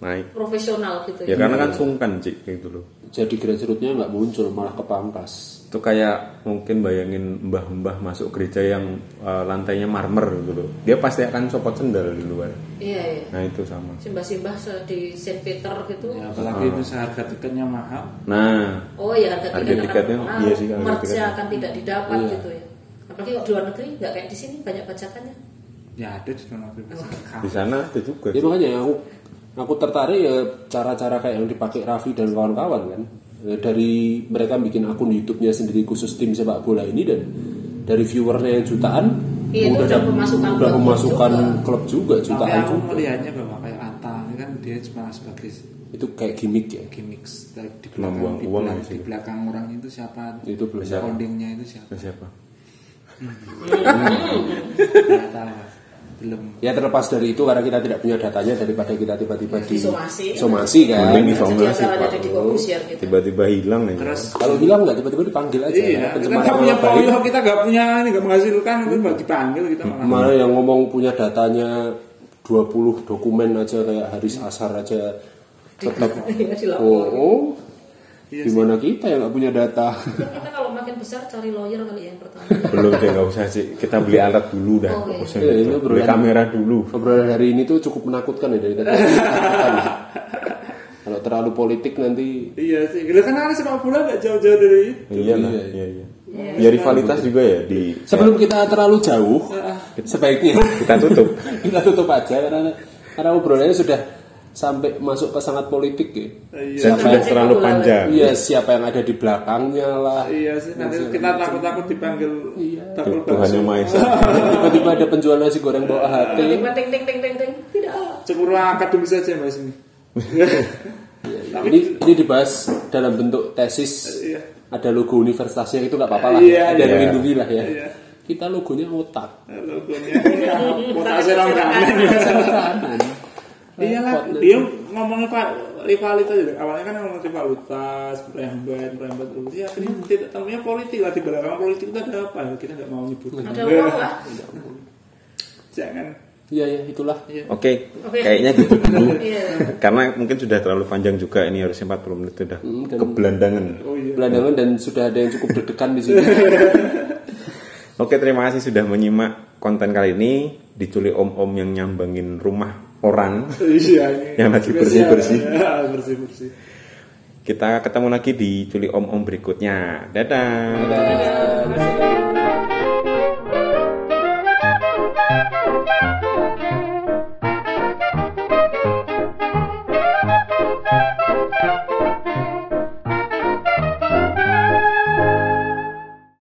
Speaker 1: Naik.
Speaker 2: profesional gitu ya,
Speaker 1: Ya karena kan sungkan cik kayak gitu loh.
Speaker 4: Jadi grassrootsnya nggak muncul malah kepangkas.
Speaker 1: Itu kayak mungkin bayangin mbah-mbah masuk gereja yang eh, lantainya marmer gitu loh. Dia pasti akan copot sendal di luar.
Speaker 2: iya iya
Speaker 1: Nah itu sama.
Speaker 2: simbah-simbah se- di Saint Peter gitu
Speaker 1: Iya.
Speaker 3: Ya, apalagi itu seharga tiketnya mahal
Speaker 1: Nah,
Speaker 2: oh ya harga,
Speaker 1: Harga tiketnya,
Speaker 2: akan
Speaker 1: iya sih, harga
Speaker 2: merja
Speaker 1: tiketnya. Iya.
Speaker 2: akan tidak didapat gitu ya apalagi kalau di luar negeri nggak kayak di sini banyak bajakannya
Speaker 3: ya ada di dalam negeri
Speaker 1: di sana ada juga.
Speaker 4: Ya makanya aku aku tertarik ya cara-cara kayak yang dipakai Raffi dan kawan-kawan kan. Ya, Dari mereka bikin akun YouTube-nya sendiri khusus tim sepak bola ini dan dari viewernya yang jutaan
Speaker 2: Iya, itu udah pemasukan
Speaker 4: udah
Speaker 2: klub
Speaker 4: pemasukan
Speaker 2: juga.
Speaker 4: klub juga
Speaker 3: tapi
Speaker 4: jutaan
Speaker 3: aku
Speaker 4: juga.
Speaker 3: melihatnya bahwa kayak Atta ini kan dia cuma sebagai
Speaker 4: Itu kayak gimmick ya.
Speaker 3: gimmick dari- di
Speaker 1: Cuma
Speaker 3: belakang
Speaker 1: buang
Speaker 3: di,
Speaker 1: uang
Speaker 3: belakang,
Speaker 1: aja sih.
Speaker 3: di belakang orang itu siapa
Speaker 4: Itu belum
Speaker 1: Siapa?
Speaker 3: holdingnya itu siapa
Speaker 1: Ke siapa?
Speaker 3: nggak tahu belum
Speaker 4: Ya terlepas dari itu karena kita tidak punya datanya daripada kita tiba-tiba di
Speaker 2: Disomasi.
Speaker 4: somasi kan.
Speaker 2: Jadi
Speaker 1: Mending disomasi,
Speaker 2: acaranya
Speaker 1: Pak.
Speaker 2: ada di Corbusier gitu
Speaker 1: Tiba-tiba hilang aja.
Speaker 3: terus
Speaker 4: Kalau hilang nggak tiba-tiba dipanggil aja.
Speaker 3: iya
Speaker 4: Karena
Speaker 3: kita
Speaker 4: pencemaran
Speaker 3: nggak punya
Speaker 4: nama baik.
Speaker 3: poin kita nggak punya ini nggak menghasilkan itu malah dipanggil kita malah
Speaker 4: Malah yang ngomong punya datanya 20 dokumen aja kayak Haris Asar aja tetap
Speaker 2: Iya,
Speaker 4: oh,
Speaker 2: dilapor.
Speaker 4: oh.
Speaker 3: Iya
Speaker 4: gimana kita yang nggak punya data
Speaker 2: Mungkin kita kalau makin besar cari lawyer kali ya yang pertama
Speaker 1: Belum deh nggak usah sih. Kita beli alat dulu dah.
Speaker 2: Oh, iya.
Speaker 1: Fokusnya
Speaker 4: Iya,
Speaker 1: gitu.
Speaker 4: iya,
Speaker 1: Beli
Speaker 4: berani.
Speaker 1: kamera dulu.
Speaker 4: obrolan hari ini tuh cukup menakutkan ya dari tadi Menakutkan. kalau terlalu politik nanti
Speaker 3: iya sih kita kan karena sepak bola nggak jauh-jauh dari itu
Speaker 1: Iya lah. Iya iya. Ya rivalitas juga ya di.
Speaker 4: sebelum kita terlalu jauh
Speaker 3: Iya.
Speaker 4: sebaiknya
Speaker 1: Kita tutup.
Speaker 4: kita tutup aja karena karena obrolannya sudah sampai masuk ke sangat politik ya.
Speaker 3: iya
Speaker 1: Dan sudah terlalu panjang.
Speaker 4: Iya siapa yang ada di belakangnya lah
Speaker 3: iya sih nanti kita takut-takut dipanggil takut
Speaker 1: Tuhan yang Maha Esa.
Speaker 4: tiba-tiba ada penjual nasi
Speaker 3: Iya.
Speaker 4: goreng bawa hati
Speaker 2: tiba ting ting ting ting ting tidak
Speaker 3: cemburu akademis aja mas ini
Speaker 4: ini ini dibahas dalam bentuk tesis
Speaker 3: Iya.
Speaker 4: ada logo universitasnya itu nggak apa-apa lah
Speaker 3: Iya,
Speaker 4: ada yang
Speaker 1: iya.
Speaker 4: melindungi lah ya
Speaker 3: Iya.
Speaker 4: kita logonya otak
Speaker 3: logonya iya otak serang kanan Iya lah, dia ngomongnya pak rivalitas gitu. Awalnya kan ngomong rivalitas, perembat, perembat, terus ya akhirnya tidak temunya politik lah di belakang politik itu ada apa? Kita nggak mau nyebutin.
Speaker 2: ada uang lah
Speaker 3: Jangan.
Speaker 4: iya ya itulah
Speaker 1: Oke.
Speaker 2: Oke.
Speaker 1: Kayaknya gitu dulu.
Speaker 2: iya
Speaker 1: Karena mungkin sudah terlalu panjang juga ini harusnya 40 menit sudah
Speaker 4: dan-
Speaker 1: kebelandangan.
Speaker 3: Oh iya.
Speaker 4: belandangan dan sudah ada yang cukup deg-degan di sini
Speaker 1: Oke, terima kasih sudah menyimak konten kali ini diculik om-om yang nyambangin rumah orang.
Speaker 3: Iya. ini.
Speaker 1: Yang lagi bersih-bersih.
Speaker 3: Iya, bersih bersih.
Speaker 1: Kita ketemu lagi di culik om-om berikutnya. Dadah.
Speaker 2: Terima kasih.